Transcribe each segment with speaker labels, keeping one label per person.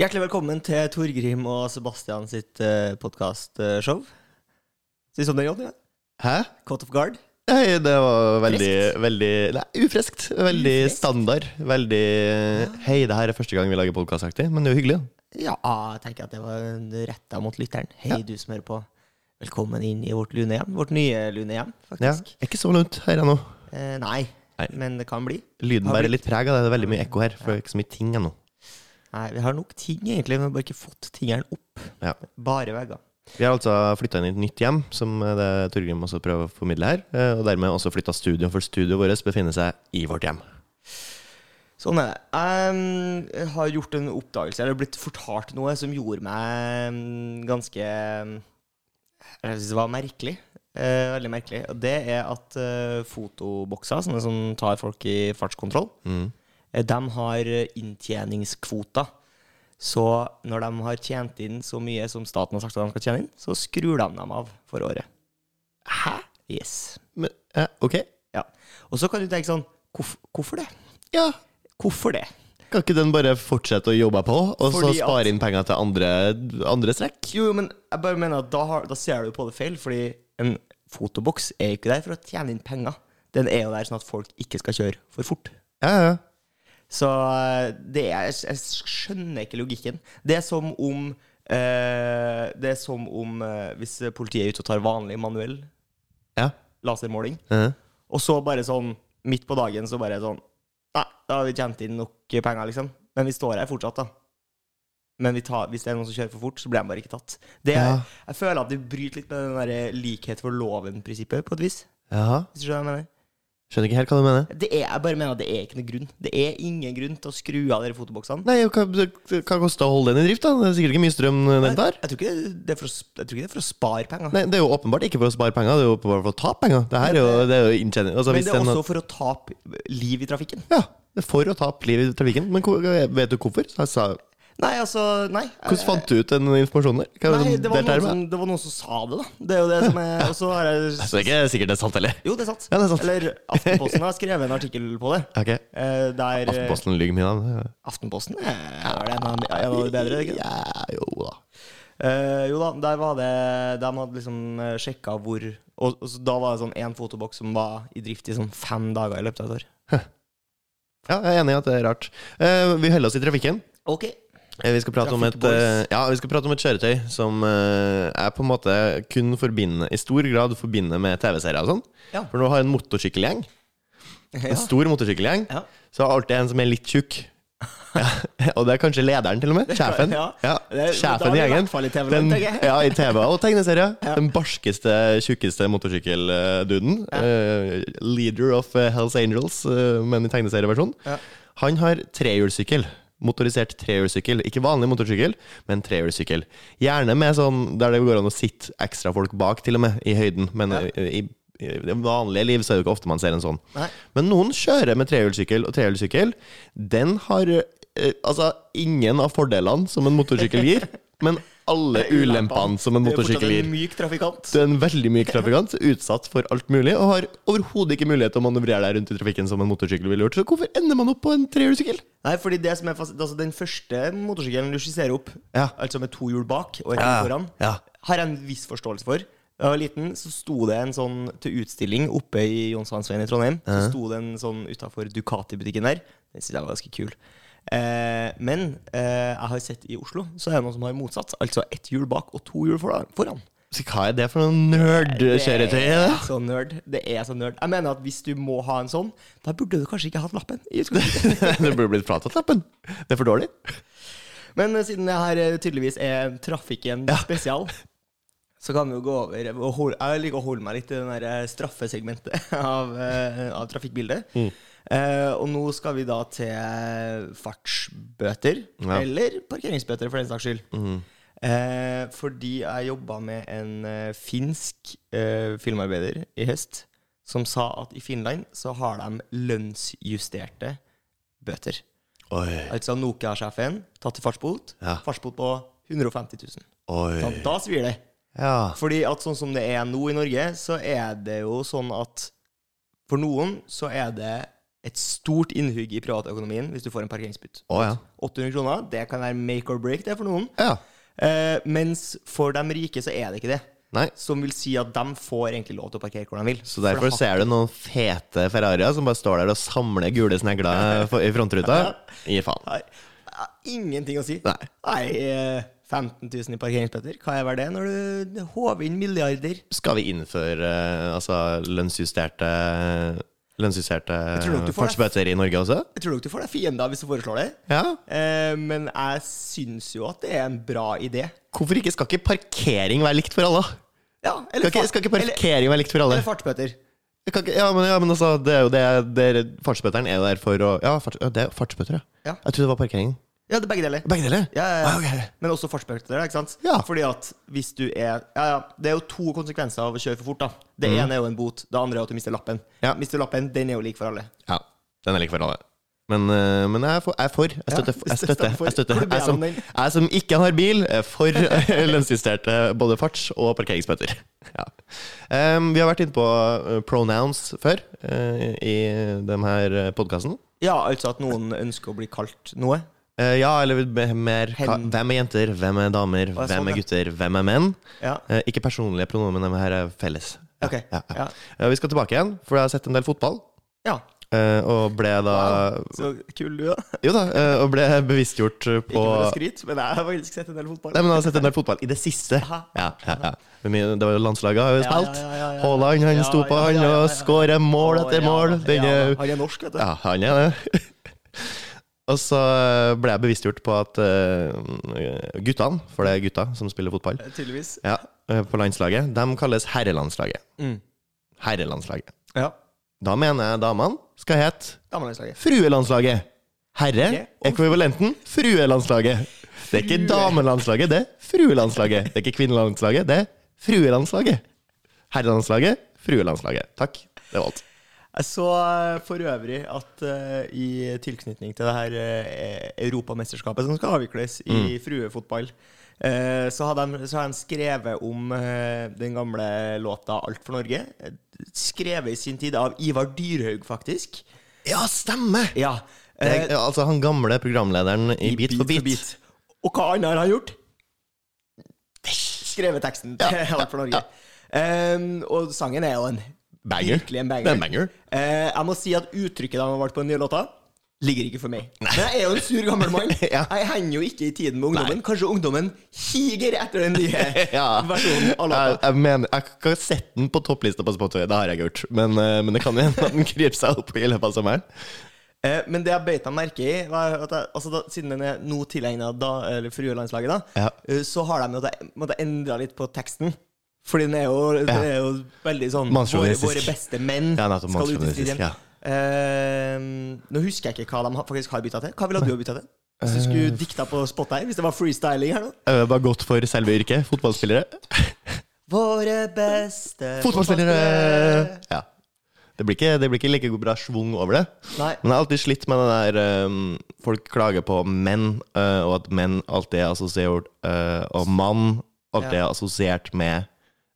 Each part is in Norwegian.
Speaker 1: Hjertelig velkommen til Torgrim og Sebastian sitt uh, podkastshow. Syns du om den jobben? Ja?
Speaker 2: Hæ?
Speaker 1: Caught off guard?
Speaker 2: Nei, det var veldig,
Speaker 1: Friskt?
Speaker 2: veldig Nei, ufriskt. Veldig
Speaker 1: Ufriskt?
Speaker 2: standard. Veldig Hei, det her er første gang vi lager podkastaktig, men det er jo hyggelig, da.
Speaker 1: Ja, jeg tenker at det var retta mot lytteren. Hei, du som hører på. Velkommen inn i vårt lune hjem. Vårt nye lune hjem,
Speaker 2: Ja.
Speaker 1: faktisk.
Speaker 2: Ikke så langt her ennå.
Speaker 1: Eh, nei,
Speaker 2: Nei.
Speaker 1: men det kan bli.
Speaker 2: Lyden
Speaker 1: Har
Speaker 2: bærer litt preg av det. Det er veldig mye ekko her, for det er ikke så mye ting ennå.
Speaker 1: Nei, Vi har nok ting, egentlig, men vi har bare ikke fått tingene opp.
Speaker 2: Ja.
Speaker 1: Bare vegger.
Speaker 2: Vi har altså flytta inn i et nytt hjem, som er det Torgrim også prøver å formidle her. eh, Og dermed også flytta studio, for studioet vårt befinner seg i vårt hjem.
Speaker 1: Sånn er det. Ehm, Jeg har gjort en oppdagelse, eller blitt fortalt noe som gjorde meg ehm, ganske ehm, Jeg synes det var merkelig. Eh, veldig merkelig. Og det er at eh, fotobokser, sånne som tar folk i fartskontroll,
Speaker 2: Mm.
Speaker 1: eh, de har eh, inntjeningskvoter. Så når de har tjent inn så mye som staten har sagt at de skal tjene inn, så skrur de dem av for året. Hæ? Yes.
Speaker 2: Men, eh, ok.
Speaker 1: Ja. Og så kan du tenke sånn hvorf Hvorfor det?
Speaker 2: Ja.
Speaker 1: Hvorfor det?
Speaker 2: Kan ikke den bare fortsette å jobbe på, og så
Speaker 1: Fordi at-
Speaker 2: spare inn penger til andre, andre strekk?
Speaker 1: Jo, jo, men jeg bare mener at da, har, da ser du på det feil, fordi en fotoboks er jo ikke der for å tjene inn penger. Den er jo der sånn at folk ikke skal kjøre for fort.
Speaker 2: Ja, ja.
Speaker 1: Så eh, det er, jeg skjønner ikke logikken. Det er som om eh, Det er som om eh, hvis politiet er ute og tar vanlig manuell
Speaker 2: ja.
Speaker 1: lasermåling,
Speaker 2: Eh,
Speaker 1: og så bare sånn midt på dagen så bare sånn Nei, da har vi tjent inn nok penger, liksom. Men vi står her fortsatt, da. Men vi tar, hvis det er noen som kjører for fort, så blir de bare ikke tatt. Det er,
Speaker 2: Ja.
Speaker 1: Jeg føler at de bryter litt med den der eh, likhet for loven-prinsippet, på et vis.
Speaker 2: ja.
Speaker 1: Hvis du skjønner hva jeg mener.
Speaker 2: Skjønner ikke helt hva du mener.
Speaker 1: Det er, jeg bare mener at det er ikke noe grunn. Det er ingen grunn til å skru av de fotoboksene.
Speaker 2: Nei, hva, hva koster det å holde den i drift, da? Det er sikkert ikke mye strøm eh, den tar.
Speaker 1: Jeg tror ikke det er for å, sp- jeg tror ikke det er for å spare penger.
Speaker 2: Nei, Det er jo åpenbart ikke for å spare penger, det er jo åpenbart for å ta penger. Det her er jo, det er jo inntjening. Altså,
Speaker 1: eh, Men
Speaker 2: hvis
Speaker 1: det er
Speaker 2: den-
Speaker 1: også for å tape liv i trafikken.
Speaker 2: Ja, det er for å tape livet i trafikken. Men hvor- eh, vet du hvorfor? Så jeg sa-
Speaker 1: Nei, altså Nei.
Speaker 2: hvordan fant du ut den informasjonen der? Hva er
Speaker 1: Nei,
Speaker 2: det
Speaker 1: det
Speaker 2: som
Speaker 1: var,
Speaker 2: delte her
Speaker 1: noen
Speaker 2: med?
Speaker 1: som, det var noen som sa det, da. Det er jo det som er Og så har jeg
Speaker 2: Så det er ikke sikkert det er sant heller.
Speaker 1: Jo, det er sant.
Speaker 2: Ja, det er sant.
Speaker 1: Eller Aftenposten har skrevet en artikkel på det.
Speaker 2: Ok,
Speaker 1: Eh, Der eh,
Speaker 2: Aftenposten lyver mye da.
Speaker 1: Aftenposten eh, er det en av en av de bedre, ikke
Speaker 2: Ja, jo da.
Speaker 1: Eh, jo da, der var det De hadde liksom uh, sjekka hvor og, og så da var det sånn én fotoboks som var i drift i sånn fem dager i løpet av et år.
Speaker 2: Ja, jeg er enig i at det er rart. Eh, vi holder oss i trafikken.
Speaker 1: Ok
Speaker 2: Eh, Vi skal prate om et,
Speaker 1: Trafikkboys.
Speaker 2: eh, ja, vi skal prate om et kjøretøy som eh, jeg på en måte kun forbinder, i stor grad forbinder med TV-serier og sånn.
Speaker 1: Ja.
Speaker 2: For når du har en motorsykkelgjeng, en stor motorsykkelgjeng,
Speaker 1: Ja.
Speaker 2: så er det alltid en som er litt tjukk. Ja, og det er kanskje lederen, til og med. Sjefen.
Speaker 1: Ja.
Speaker 2: Ja.
Speaker 1: Det- da er
Speaker 2: Sjefen i
Speaker 1: det i hvert
Speaker 2: gjengen.
Speaker 1: fall i TV,
Speaker 2: Den-
Speaker 1: tenker jeg.
Speaker 2: Ja, i TV og tegneserier. Den barskeste, tjukkeste motorsykkelduden. eh, leader of eh, Hells Angels, eh, men i tegneserieversjon.
Speaker 1: Ja.
Speaker 2: Han har trehjulssykkel. Motorisert trehjulssykkel. Ikke vanlig motorsykkel, men trehjulssykkel. Gjerne med sånn der det går an å sitte ekstra folk bak, til og med, i høyden. Men eh, i, i i det vanlige liv så er det jo ikke ofte man ser en sånn.
Speaker 1: Nei.
Speaker 2: Men noen kjører med trehjulssykkel, og trehjulssykkel, den har eh, altså ingen av fordelene som en motorsykkel gir, men alle ulempene som en
Speaker 1: Du er fortsatt
Speaker 2: motorsykkel gir.
Speaker 1: en myk trafikant.
Speaker 2: Du er en veldig myk trafikant, utsatt for alt mulig, og har overhodet ikke mulighet til å manøvrere deg rundt i trafikken som en motorsykkel ville gjort. Så hvorfor ender man opp på en trehjulssykkel?
Speaker 1: Nei, fordi det som er fast, altså Den første motorsykkelen du skisserer opp,
Speaker 2: Ja.
Speaker 1: altså med to hjul bak og et hjul
Speaker 2: Ja,
Speaker 1: foran,
Speaker 2: ja.
Speaker 1: har jeg en viss forståelse for. Da jeg var liten, så sto det en sånn til utstilling oppe i Jonshansveien i Trondheim. Så sto det en sånn utafor Ducati-butikken der. Den synes jeg var ganske kul. Eh, men eh, jeg har sett i Oslo, så er det noen som har motsatt. Altså ett hjul bak og to hjul foran. foran.
Speaker 2: Så hva er det for noen
Speaker 1: Det
Speaker 2: nerd-kjøretøy? da?
Speaker 1: er så nerd. Det er så nerd. Jeg mener at hvis du må ha en sånn, da burde du kanskje ikke hatt lappen. i utgangspunktet.
Speaker 2: Det burde blitt fratatt lappen. Det er for dårlig.
Speaker 1: Men eh, siden det her eh, tydeligvis er en trafikken spesial, så kan vi jo gå over og hol- Jeg liker å holde meg litt i det der eh, straffesegmentet av, eh, av trafikkbildet. Eh, og nå skal vi da til eh, fartsbøter,
Speaker 2: Ja.
Speaker 1: eller parkeringsbøter for den saks skyld. Eh, fordi jeg jobba med en eh, finsk eh, filmarbeider i høst, som sa at i Finland så har de lønnsjusterte bøter.
Speaker 2: Oi,
Speaker 1: Altså Nokia-sjefen tatt til fartsbot.
Speaker 2: Ja.
Speaker 1: Fartsbot på 150 000.
Speaker 2: oi.
Speaker 1: Da, da svir det.
Speaker 2: Ja.
Speaker 1: Fordi at sånn som det er nå i Norge, så er det jo sånn at for noen så er det et stort innhugg i privatøkonomien hvis du får en parkeringsbot.
Speaker 2: Å ja.
Speaker 1: 800 kroner, det kan være make or break det for noen.
Speaker 2: ja.
Speaker 1: Eh, mens for de rike så er det ikke det.
Speaker 2: Nei.
Speaker 1: Som vil si at de får egentlig lov til å parkere hvor de vil.
Speaker 2: Så derfor ser du noen fete Ferrarier som bare står der og samler gule snegler for- i frontruta. Gi faen.
Speaker 1: Nei, jeg har ingenting å si.
Speaker 2: Nei.
Speaker 1: eh, 15 000 i parkeringsbøter, hva er vel det når du håver inn milliarder?
Speaker 2: Skal vi innføre eh, altså, lønnsjusterte Lønnsjusterte
Speaker 1: tror nok du får det.
Speaker 2: fartsbøter i Norge også?
Speaker 1: Jeg tror nok du får deg fiender hvis du foreslår det.
Speaker 2: Ja.
Speaker 1: Eh, men jeg syns jo at det er en bra idé.
Speaker 2: Hvorfor ikke? Skal ikke parkering være likt for alle?
Speaker 1: Ja, eller,
Speaker 2: Skal ikke,
Speaker 1: fart-
Speaker 2: skal ikke
Speaker 1: eller,
Speaker 2: parkering være likt for alle?
Speaker 1: eller fartsbøter.
Speaker 2: Kan ikke, ja, men, ja, men altså, det er jo det, det er, Fartsbøteren er jo der for å Ja, farts, ja det er fartsbøter, ja.
Speaker 1: Ja.
Speaker 2: Jeg trodde det var parkering.
Speaker 1: Ja, det er begge deler.
Speaker 2: Begge deler?
Speaker 1: Ja, ja, ja.
Speaker 2: Ah, ok.
Speaker 1: Men også fartsbøter, ikke sant?
Speaker 2: Ja.
Speaker 1: Fordi at hvis du er ja, ja, Det er jo to konsekvenser av å kjøre for fort. da Det ene er jo en bot, det andre er at du mister lappen.
Speaker 2: Mm. Ja.
Speaker 1: Mister du lappen, den er jo lik for alle.
Speaker 2: Ja, den er lik for alle. Men, eh, men jeg er for. Jeg, er for. jeg støtter. Jeg, støtter.
Speaker 1: stemmer for.
Speaker 2: jeg, støtter.
Speaker 1: Hvor ble
Speaker 2: jeg, som,
Speaker 1: han den?
Speaker 2: jeg som ikke har bil, er for lønnsjusterte både farts- og parkeringsbøter. Ja. Em, vi har vært inne på eh, pronouns før eh, i denne podkasten.
Speaker 1: Ja, altså at noen ønsker å bli kalt noe.
Speaker 2: Eh, ja, eller be- mer hva,
Speaker 1: Hen.
Speaker 2: Hvem er jenter, hvem er
Speaker 1: Å,
Speaker 2: damer,
Speaker 1: jeg så
Speaker 2: hvem er
Speaker 1: det.
Speaker 2: gutter, hvem er menn?
Speaker 1: Ja,
Speaker 2: Eh, ikke personlige pronomen, men her er felles.
Speaker 1: ok.
Speaker 2: Ja,
Speaker 1: Ja. ja.
Speaker 2: Eh, vi skal tilbake igjen, for jeg har sett en del fotball. eh, og ble da
Speaker 1: Så kul du, da.
Speaker 2: Jo da, eh, og ble bevisstgjort eh,
Speaker 1: Ikke for å
Speaker 2: på
Speaker 1: skryte, men jeg har faktisk sett en del fotball.
Speaker 2: Nei, men jeg har sett en del fotball i det siste. Ja,
Speaker 1: Aha.
Speaker 2: ja, ja. Det var mye- det var jo landslaget har jo
Speaker 1: Ja,
Speaker 2: spilt.
Speaker 1: ja, ja, ja, ja.
Speaker 2: Haaland han
Speaker 1: Ja,
Speaker 2: sto på
Speaker 1: ja,
Speaker 2: han
Speaker 1: ja, ja, ja.
Speaker 2: og skårer mål
Speaker 1: Å,
Speaker 2: etter
Speaker 1: ja,
Speaker 2: mål.
Speaker 1: da,
Speaker 2: Den,
Speaker 1: ja, da.
Speaker 2: er-
Speaker 1: Han er norsk, vet du.
Speaker 2: ja, han er det. Og så eh, ble jeg bevisstgjort på at eh, guttene, for det er gutta som spiller fotball,
Speaker 1: Tydeligvis.
Speaker 2: ja, eh, på landslaget, de kalles herrelandslaget.
Speaker 1: Mm.
Speaker 2: Herrelandslaget.
Speaker 1: Ja.
Speaker 2: Da mener jeg damene skal hete
Speaker 1: Damelandslaget.
Speaker 2: fruelandslaget. Herre,
Speaker 1: Herre og-
Speaker 2: ekvivalenten, fruelandslaget. Det er ikke
Speaker 1: Frue.
Speaker 2: damelandslaget, det er fruelandslaget. Det er ikke kvinnelandslaget, det er fruelandslaget. Herrelandslaget, fruelandslaget. Takk. Det var alt.
Speaker 1: Jeg så eh, for øvrig at eh, i tilknytning til det her eh, europamesterskapet som skal avvikles
Speaker 2: Mm.
Speaker 1: i fruefotball, eh, så har de, så har de skrevet om eh, den gamle låta 'Alt for Norge'. eh, Skrevet i sin tid av Ivar Dyrhaug, faktisk.
Speaker 2: Ja, stemmer!
Speaker 1: Ja.
Speaker 2: Det
Speaker 1: eh,
Speaker 2: er, altså han gamle programlederen i Beat for Beat.
Speaker 1: Og hva annet har han gjort? Skrevet teksten til Alt for Norge. Ehm, og sangen er jo en
Speaker 2: Banger.
Speaker 1: Virkelig en banger.
Speaker 2: Det er en banger.
Speaker 1: Eh, jeg må si at uttrykket de har valgt på den nye låta, ligger ikke for meg. Men jeg er jo en sur gammel mann.
Speaker 2: Ja.
Speaker 1: Jeg henger jo ikke i tiden med ungdommen. Kanskje ungdommen higer etter den nye
Speaker 2: Ja.
Speaker 1: versjonen av
Speaker 2: Jeg,
Speaker 1: låta.
Speaker 2: jeg mener, jeg kan ikke sette den på topplista på Spotify, det har jeg ikke gjort. Men, eh, men det kan jo hende at den kryper seg opp i løpet av sommeren.
Speaker 1: Eh, men det jeg beit meg merke i, var at jeg, altså da, siden den er nå tilegna fruelandslaget, da,
Speaker 2: Ja.
Speaker 1: eh, så har de jo da- måtte endre litt på teksten. Fordi den er jo, det er jo veldig sånn våre,
Speaker 2: Mannssjåvinistisk.
Speaker 1: våre beste menn
Speaker 2: Ja, nettopp,
Speaker 1: skal ut i
Speaker 2: mannssjåvinistisk,
Speaker 1: striden.
Speaker 2: ja.
Speaker 1: Eh, nå husker jeg ikke hva de har- faktisk har bytta til. Hva ville du ha bytta til? Hvis du skulle dikta på spot her? Hvis det var freestyling her nå?
Speaker 2: Eh, Det var godt for selve yrket. Fotballspillere.
Speaker 1: Våre beste
Speaker 2: Fotballspillere! Ja. Det blir, ikke, det blir ikke like god bra schwung over det.
Speaker 1: Nei.
Speaker 2: Men jeg har alltid slitt med det der um, Folk klager på menn, uh, og at menn alltid er assosiert uh, Og mann alltid
Speaker 1: Ja.
Speaker 2: er assosiert med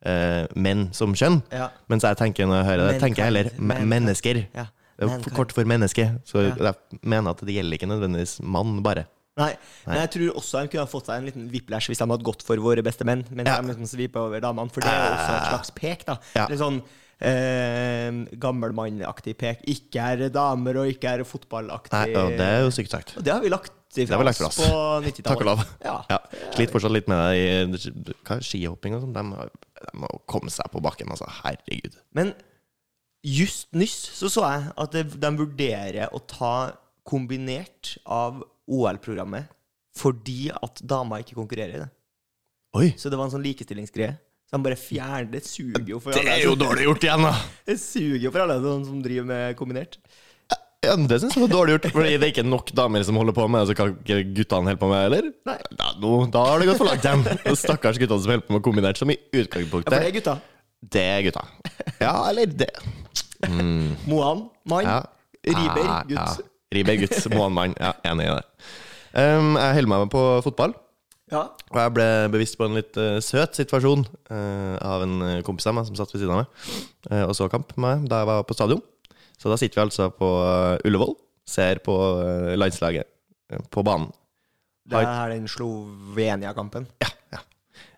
Speaker 2: uh, menn som kjønn.
Speaker 1: Ja.
Speaker 2: Mens jeg tenker når jeg hører det, tenker jeg heller
Speaker 1: Mankind.
Speaker 2: me- mennesker.
Speaker 1: ja.
Speaker 2: Det er
Speaker 1: Mankind.
Speaker 2: for kort for menneske. Så
Speaker 1: Ja.
Speaker 2: jeg mener at det gjelder ikke nødvendigvis mann, bare.
Speaker 1: Nei, men jeg tror også de kunne ha fått seg en liten whiplash hvis de hadde gått for våre beste menn. Men
Speaker 2: Ja. Ah.
Speaker 1: de liksom svipa over damene, for det er jo også et slags pek, da.
Speaker 2: Ja.
Speaker 1: Litt sånn eh, gammelmannaktig pek. Ikke er damer, og ikke er fotballaktig.
Speaker 2: Nei, og det er jo sykt sagt.
Speaker 1: Og det har vi lagt
Speaker 2: har
Speaker 1: ifra
Speaker 2: vi
Speaker 1: oss
Speaker 2: lagt fra oss.
Speaker 1: på 90-tallet.
Speaker 2: Takk og lov.
Speaker 1: Ja.
Speaker 2: Ja, Sliter fortsatt litt med det i hva, skihopping og sånn. De, må- de må komme seg på bakken, altså. Herregud.
Speaker 1: Men just nyss så så jeg at det, de vurderer å ta kombinert av OL-programmet fordi at damer ikke konkurrerer i det.
Speaker 2: Oi!
Speaker 1: Så det var en sånn likestillingsgreie. Så de bare fjerner Det suger jo for
Speaker 2: Det
Speaker 1: alle.
Speaker 2: er jo dårlig gjort igjen, da!
Speaker 1: Det suger jo for alle sånne som driver med kombinert.
Speaker 2: Ja, men det syns jeg var dårlig gjort, Fordi det er ikke nok damer som holder på med det, så kan ikke guttene holde på med det heller?
Speaker 1: Nei.
Speaker 2: Da, nå, da har det gått for langt igjen. Og Stakkars guttene som holder på med kombinert, som i
Speaker 1: Ja, for det
Speaker 2: utgangspunktet
Speaker 1: er gutta.
Speaker 2: Det er gutta. Ja, eller det
Speaker 1: Moan, mann.
Speaker 2: ja.
Speaker 1: Riber,
Speaker 2: Ja, ja.
Speaker 1: gutt.
Speaker 2: Riber, gutt. Månemann. Ja, enig i det. Um, jeg holder meg med på fotball.
Speaker 1: Ja.
Speaker 2: Og jeg ble bevisst på en litt eh, søt situasjon eh, av en eh, kompis av meg som satt ved siden av meg eh, og så kamp med meg da jeg var på stadion. Så Så da sitter vi altså på eh, Ullevål, ser på eh, landslaget eh, på banen.
Speaker 1: Det er den Slovenia-kampen.
Speaker 2: Ja, ja.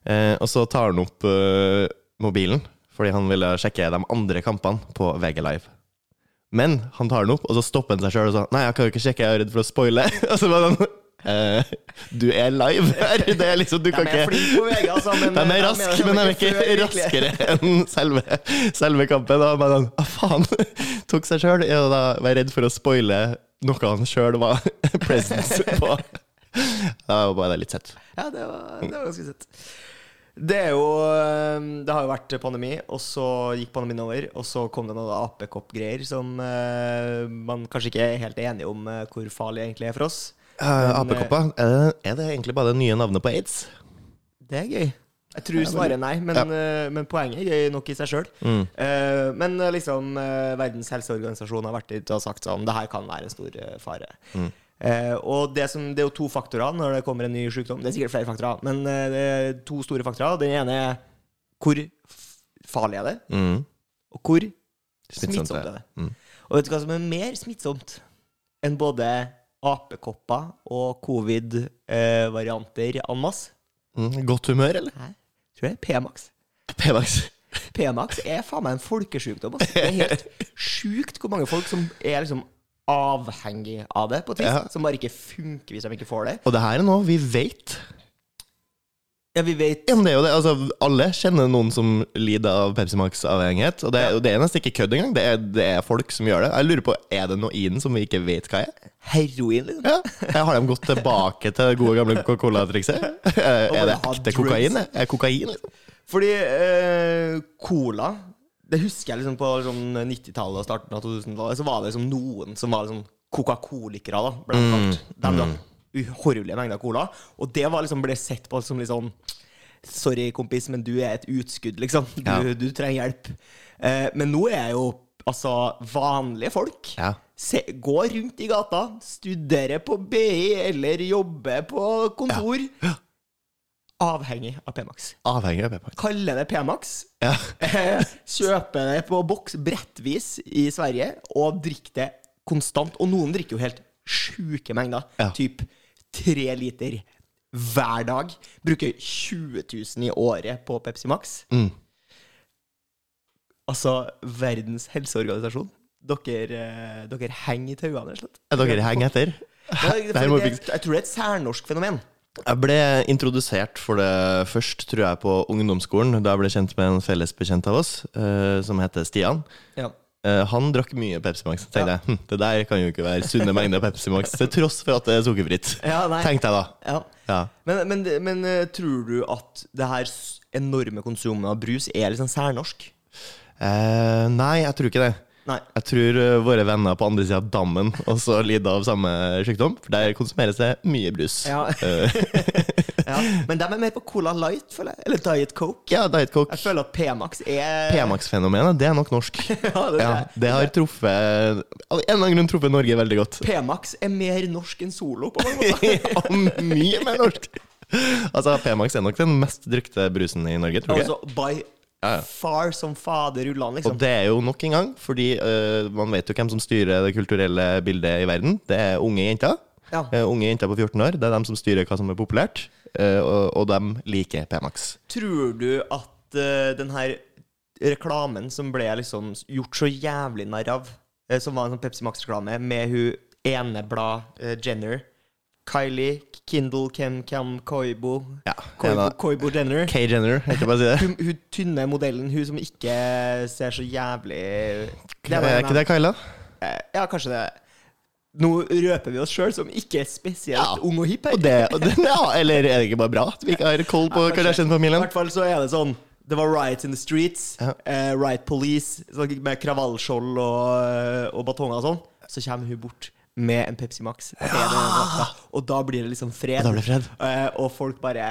Speaker 2: Eh, og så tar han opp eh, mobilen, fordi han ville sjekke de andre kampene på VG Live. Men han tar den opp, og så stopper han seg sjøl og sa Nei, jeg kan jo ikke sjekke, jeg er redd for å spoile. og så var han eh, Du er live her! Det er liksom, du
Speaker 1: De
Speaker 2: kan
Speaker 1: er
Speaker 2: ikke
Speaker 1: flinke på VG, altså. Men
Speaker 2: De er raske, men de er ikke
Speaker 1: før, sånn virkelig.
Speaker 2: raskere enn selve, selve kampen. Og bare sånn, ah, faen, tok seg sjøl. Og da var jeg redd for å spoile noe han sjøl var presence på. Da var bare det litt sett.
Speaker 1: Ja, det var, det var ganske søtt. Det er jo øhm, Det har jo vært pandemi, og så gikk pandemien over, og så kom det noen apekoppgreier som øh, man kanskje ikke er helt enige om øh, hvor farlig egentlig er for oss.
Speaker 2: Uh, Apekopper, er, det- er det egentlig bare det nye navnet på aids?
Speaker 1: Det er gøy. Jeg tror svaret er nei, men, øh, men poenget er gøy nok i seg sjøl. men øh, liksom øh, Verdens helseorganisasjon har vært ute og sagt sånn Det her kan være en stor øh, fare. Eh, og det, som, det er jo to faktorer når det kommer en ny sykdom. Det er sikkert flere faktorer, men eh, det er to store faktorer. Den ene er hvor f- farlig er det,
Speaker 2: Mm.
Speaker 1: og hvor
Speaker 2: Smittsomt
Speaker 1: smittsomt er det.
Speaker 2: Mm.
Speaker 1: Og vet du hva som er mer smittsomt enn både apekopper og covid-varianter en masse?
Speaker 2: Mm. Godt humør, eller?
Speaker 1: Tror jeg det er P-Max.
Speaker 2: P-Max.
Speaker 1: P-Max er faen meg en folkesjukdom. ass. Det er helt sjukt hvor mange folk som er liksom avhengig av det, på et vis.
Speaker 2: Ja.
Speaker 1: Som bare ikke funker hvis de ikke får det.
Speaker 2: Og det her er noe vi vet.
Speaker 1: Ja, vi vet
Speaker 2: Ja, men det er jo det. Altså, alle kjenner noen som lider av Pepsi Max-avhengighet. Og det, og det er nesten ikke kødd engang. Det er, det er folk som gjør det. Jeg lurer på, Er det noe i den som vi ikke vet hva er?
Speaker 1: heroin, liksom.
Speaker 2: Ja. Jeg har de gått tilbake til det gode gamle Coca-Cola-trikset? Eh, Er det
Speaker 1: ha
Speaker 2: ekte
Speaker 1: drugs.
Speaker 2: kokain? det? Er kokain, liksom?
Speaker 1: Fordi eh, cola Det husker jeg liksom på sånn 90-tallet og starten av 2000-tallet. Så var det liksom noen som var liksom Coca-Colikere, da. Ble
Speaker 2: Mm.
Speaker 1: de kalt. De drakk uhorvelige mengder cola. Og det var liksom ble sett på som litt sånn Sorry, kompis, men du er et utskudd, liksom. Du,
Speaker 2: Ja.
Speaker 1: du trenger hjelp. Eh, men nå er jo altså vanlige folk
Speaker 2: Ja.
Speaker 1: se, går rundt i gata, studerer på BI eller jobber på kontor. Avhengig av P-Max
Speaker 2: Avhengig av Pepsi Max.
Speaker 1: kaller det P-Max.
Speaker 2: Ja.
Speaker 1: eh, Kjøper det på boks brettvis i Sverige og drikker det konstant. Og noen drikker jo helt sjuke mengder.
Speaker 2: Ja.
Speaker 1: Typ tre liter hver dag. Bruker 20 000 i året på Pepsi Max.
Speaker 2: Mm.
Speaker 1: Altså Verdens helseorganisasjon. Dere, eh, dere henger i tauene, rett og slett.
Speaker 2: Er Dere henger etter.
Speaker 1: Jeg,
Speaker 2: Det her må
Speaker 1: jeg,
Speaker 2: fikses.
Speaker 1: jeg tror det er et særnorsk fenomen.
Speaker 2: Jeg ble introdusert for det først, tror jeg, på ungdomsskolen. Da jeg ble kjent med en felles bekjent av oss, eh, som heter Stian.
Speaker 1: Ja.
Speaker 2: Eh, han drakk mye Pepsi Max. Så tenkte jeg, hm, det der kan jo ikke være sunne mengder Pepsi Max, til tross for at det er sukkerfritt.
Speaker 1: Ja, nei.
Speaker 2: Tenkte jeg da.
Speaker 1: Ja.
Speaker 2: Ja.
Speaker 1: Men, men, men eh, tror du at det her s- enorme konsumet av brus er liksom særnorsk?
Speaker 2: Eh, nei, jeg tror ikke det.
Speaker 1: Nei.
Speaker 2: Jeg tror eh, våre venner på andre sida av dammen også lider av samme sykdom. For der konsumeres det mye brus. Eh,
Speaker 1: Ja. ja. Men de er mer på Cola Light, føler jeg. Eller Diet Coke.
Speaker 2: Ja, Diet Coke.
Speaker 1: Jeg føler at P-Max er
Speaker 2: P-Max-fenomenet, det er nok norsk.
Speaker 1: Ja, det
Speaker 2: Ja,
Speaker 1: er det.
Speaker 2: det har truffet av en eller annen grunn truffet Norge veldig godt.
Speaker 1: P-Max er mer norsk enn Solo, på mange måter.
Speaker 2: Og mye mer norsk. Altså, P-Max er nok den mest drukte brusen i Norge, tror jeg.
Speaker 1: Altså by
Speaker 2: Ja, ja.
Speaker 1: far som faderullan,
Speaker 2: Og
Speaker 1: liksom.
Speaker 2: det er jo nok en gang, fordi eh, man vet jo hvem som styrer det kulturelle bildet i verden. Det er unge jenter.
Speaker 1: Ja.
Speaker 2: Eh, unge jenter på 14 år. Det er dem som styrer hva som er populært, eh, og, og dem liker P-Max.
Speaker 1: Tror du at eh, den her reklamen som ble liksom gjort så jævlig narr av, eh, som var en sånn Pepsi Max-reklame med hun eneblad eh, Jenner, Kylie, Kindle, Kem, Kam, Koibo
Speaker 2: Ja, en
Speaker 1: Koibo,
Speaker 2: av-
Speaker 1: Koibo Jenner.
Speaker 2: K. Jenner, jeg kan bare si det.
Speaker 1: Hun, hun tynne modellen, hun som ikke ser så jævlig det
Speaker 2: Er ikke det Kyla?
Speaker 1: Ja, kanskje det. Nå røper vi oss sjøl som ikke er spesielt
Speaker 2: Ja.
Speaker 1: ung og hipp her.
Speaker 2: Og det, og det, ja, eller er det ikke bare bra at vi ikke har koll på
Speaker 1: Ja, kanskje. I
Speaker 2: Kardashian-familien?
Speaker 1: hvert fall så er det sånn Det var riots in the streets,
Speaker 2: Ja.
Speaker 1: eh, riot police, sånn med kravallskjold og, og batonger og sånn. Så kommer hun bort med en Pepsi Max, til den vakta, og da blir det liksom fred.
Speaker 2: Og da blir det fred.
Speaker 1: Eh, og folk bare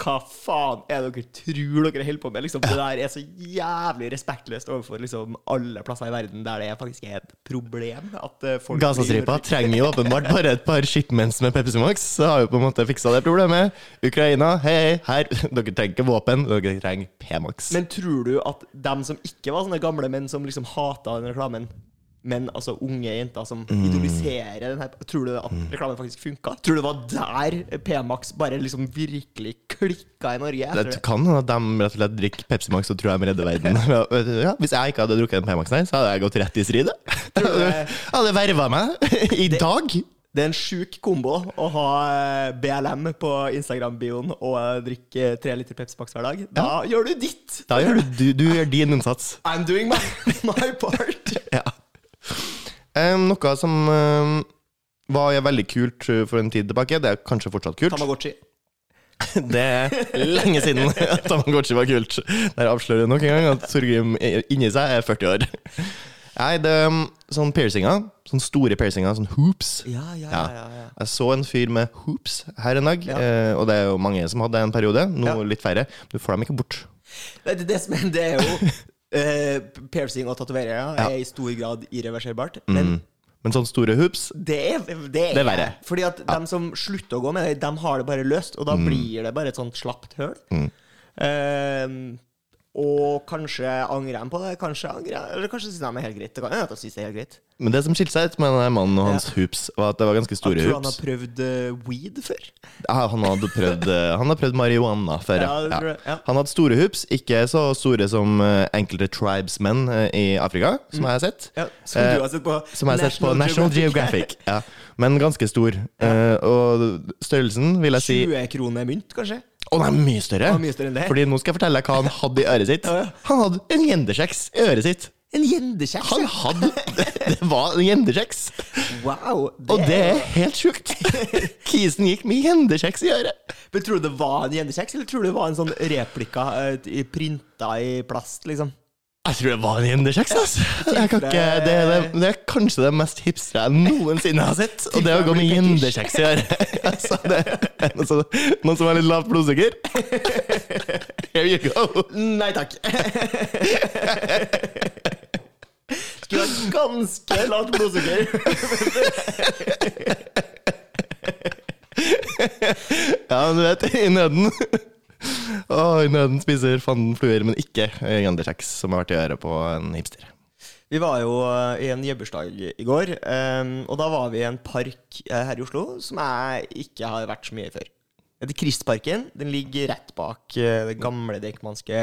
Speaker 1: Hva faen er det dere tror dere holder på med? Liksom, det der er så jævlig respektløst overfor liksom, alle plasser i verden der det faktisk er et problem at eh, folk blir-
Speaker 2: Gazastripa trenger jo åpenbart bare et par shipments med Pepsi Max, så har vi på en måte fiksa det problemet. Ukraina, hei, hei, her. Dere trenger ikke våpen, dere trenger P-Max.
Speaker 1: Men tror du at dem som ikke var sånne gamle menn som liksom hata den reklamen, men altså unge jenter som idoliserer den her Tror du at reklamen faktisk funka? Tror du det var der P-Max bare liksom virkelig klikka i Norge? Jeg tror
Speaker 2: Det kan hende at de rett og slett drikker Pepsi Max og tror de redder verden. Ja, vet du, ja, hvis jeg ikke hadde drukket den P-Maxen her, så hadde jeg gått rett i strid.
Speaker 1: Tror du
Speaker 2: Jeg
Speaker 1: det-
Speaker 2: hadde verva meg i dag.
Speaker 1: Det er en sjuk kombo å ha eh, BLM på Instagram-bioen og eh, drikke tre liter Pepsi Max hver dag. Da gjør du ditt!
Speaker 2: Da gjør du, du, du gjør din innsats.
Speaker 1: I'm doing my, my part!
Speaker 2: Ja. Em, noe som em, var veldig kult eh, for en tid tilbake, det er kanskje fortsatt kult.
Speaker 1: Tamagotchi.
Speaker 2: Det er lenge siden at Tamagotchi var kult. Der avslører du nok en gang at Torgrim er- inni seg er 40 år. Nei, det er um, sånn piercinger. Sånne store piercinger. Sånn hoops.
Speaker 1: Ja, ja, ja.
Speaker 2: Ja.
Speaker 1: ja, ja.
Speaker 2: Jeg så en fyr med hoops her en dag,
Speaker 1: Ja.
Speaker 2: eh, og det er jo mange som hadde en periode. Nå
Speaker 1: Ja.
Speaker 2: litt færre. Du får dem ikke bort.
Speaker 1: Nei, Det, det, som er, det er jo eh, Piercing og tatoveringer er i stor grad irreverserbart. Men
Speaker 2: Men sånne store hoops
Speaker 1: det er, det er,
Speaker 2: Mm. Det er verre.
Speaker 1: Fordi at dem som slutter å gå med det, dem har det bare løst, og da
Speaker 2: Mm.
Speaker 1: blir det bare et sånt slapt høl. Eh, og kanskje angrer de på det, kanskje angrer jeg- Eller kanskje syns de er helt greit. Det kan hende at de synes det er helt greit.
Speaker 2: Men det som skilte seg ut med denne mannen og hans hoops, var at det var ganske
Speaker 1: Jeg
Speaker 2: store
Speaker 1: tror han
Speaker 2: hoops.
Speaker 1: har prøvd eh, weed før.
Speaker 2: Ja, han hadde prøvd, eh, han hadde prøvd marihuana før.
Speaker 1: Ja, det tror jeg, ja.
Speaker 2: Han hadde store hoops, ikke så store som eh, enkelte tribesmenn eh, i Afrika, som jeg har sett.
Speaker 1: Mm. Ja, som
Speaker 2: Eh,
Speaker 1: du har sett på
Speaker 2: Som jeg har sett på National Geographic. Ja. Men ganske stor. Eh, og størrelsen vil jeg si
Speaker 1: 20 kroner mynt, kanskje?
Speaker 2: Å, den er mye større!
Speaker 1: Den er mye større enn det.
Speaker 2: Fordi nå skal jeg fortelle deg hva han hadde i øret sitt.
Speaker 1: Ja, ja.
Speaker 2: Han hadde en gjendekjeks i øret sitt.
Speaker 1: En gjendekjeks? ja.
Speaker 2: Han hadde Det var en gjendekjeks!
Speaker 1: Wow! Det
Speaker 2: Og det
Speaker 1: er-
Speaker 2: er helt sjukt! Kisen gikk med gjendekjeks i øret.
Speaker 1: Men tror du det var en gjendekjeks, eller tror du det var en sånn replika eh, i- printa i plast, liksom?
Speaker 2: Jeg tror det var en gjendekjeks. Altså. Jeg kan ikke, det, er det, det er kanskje det mest hipstre jeg noensinne har sett. Og det å gå med gjendekjeks i øret. Altså, det er noe som- Noen som har litt lavt blodsukker? Here you go.
Speaker 1: Nei takk. Skulle ha ganske lavt blodsukker.
Speaker 2: Ja, men du vet, i nøden. Å, I nøden spiser fanden fluer, men ikke gjendekjeks, som har vært i øret på en hipster.
Speaker 1: Vi var jo eh, i en jebbursdag i går, eh, og da var vi i en park eh, her i Oslo som jeg ikke har vært så mye i før. Det heter Kristparken. Den ligger rett bak eh, det gamle Deichmanske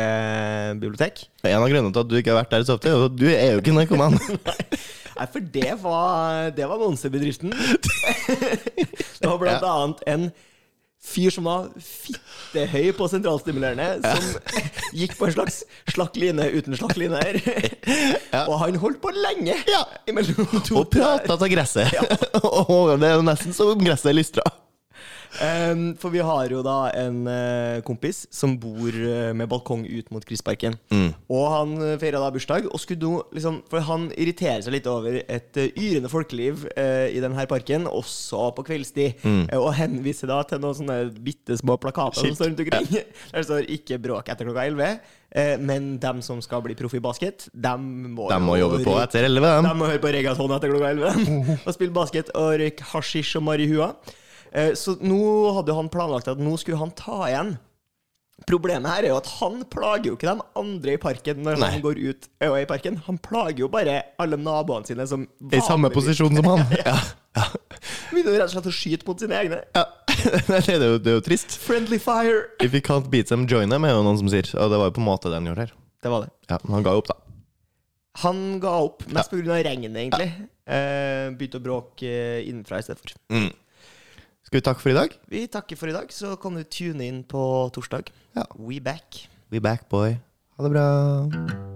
Speaker 1: bibliotek.
Speaker 2: En av grunnene til at du ikke har vært der så ofte, er jo at du er jo ikke narkoman.
Speaker 1: Nei, for det var, det var monsterbedriften. Det var blant annet en fyr som var fittehøy på sentralstimulerende, som gikk på en slags slakk line uten slakk line her. Og han holdt på lenge
Speaker 2: Ja.
Speaker 1: imellom to
Speaker 2: Og prata av gresset. Og det er jo nesten som om gresset lystra.
Speaker 1: Um, for vi har jo da en eh, kompis som bor eh, med balkong ut mot Krisparken.
Speaker 2: Mm.
Speaker 1: Og han eh, feira da bursdag, og skulle nå liksom For han irriterer seg litt over et eh, yrende folkeliv eh, i denne parken, også på kveldstid. Eh, og henviser da til noen sånne bitte små plakater som
Speaker 2: Mm. Skilt.
Speaker 1: står rundt omkring. Der det står 'ikke bråk etter klokka 11'. eh, men dem som skal bli proff i basket, dem må,
Speaker 2: De må
Speaker 1: jo
Speaker 2: jobbe på
Speaker 1: rykke
Speaker 2: etter elleve,
Speaker 1: de
Speaker 2: dem.
Speaker 1: må høre på reggaeton etter klokka 11 og spille basket og røyke hasjisj og marihua. Eh, Så nå hadde han planlagt at nå skulle han ta igjen. Problemet her er jo at han plager jo ikke de andre i parken når
Speaker 2: Nei.
Speaker 1: han går ut og er i parken. Han plager jo bare alle naboene sine som
Speaker 2: I samme
Speaker 1: vanligvis
Speaker 2: posisjon som han. Ja.
Speaker 1: begynner rett og slett å skyte mot sine egne.
Speaker 2: Ja. Nei, Det, er jo, det er jo trist.
Speaker 1: Friendly fire!
Speaker 2: If you can't beat them, join them, er jo noen som sier. Og det var jo på en måte det han gjorde her.
Speaker 1: Det var det.
Speaker 2: Ja, men han ga jo opp, da.
Speaker 1: Han ga opp, mest på grunn av regnet, egentlig. Eh, Begynte å bråke eh, innenfra istedenfor.
Speaker 2: Mm. Skal vi takke for i dag?
Speaker 1: Vi takker for i dag, så kan du tune inn på torsdag.
Speaker 2: Ja.
Speaker 1: We back.
Speaker 2: We back, boy. Ha det bra.